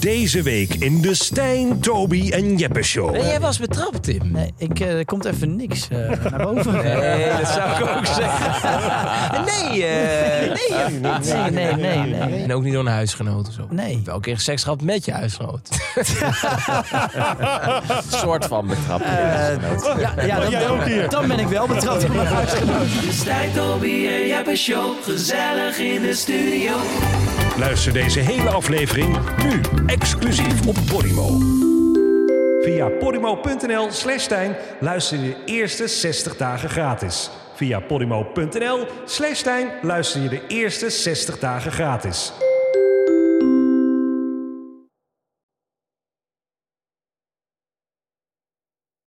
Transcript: Deze week in de Stijn, Toby en Jeppe Show. jij was betrapt, Tim. Nee, ik, eh, er komt even niks eh, naar boven. Nee, dat zou ik ook zeggen. Nee, eh, nee. Nee, Nee, nee, nee, nee. En ook niet door een huisgenoot of zo. Nee. Welke keer seks gehad met je huisgenoot. soort van betrapt. Ja, ja, dan, jij ook hier? dan, dan ben ik wel betrapt op mijn huisgenoot. Stijn, Toby en Jeppe Show. Gezellig in de studio. Luister deze hele aflevering nu exclusief op Podimo. Via podimo.nl slash Stijn luister je de eerste 60 dagen gratis. Via podimo.nl slash Stijn luister je de eerste 60 dagen gratis.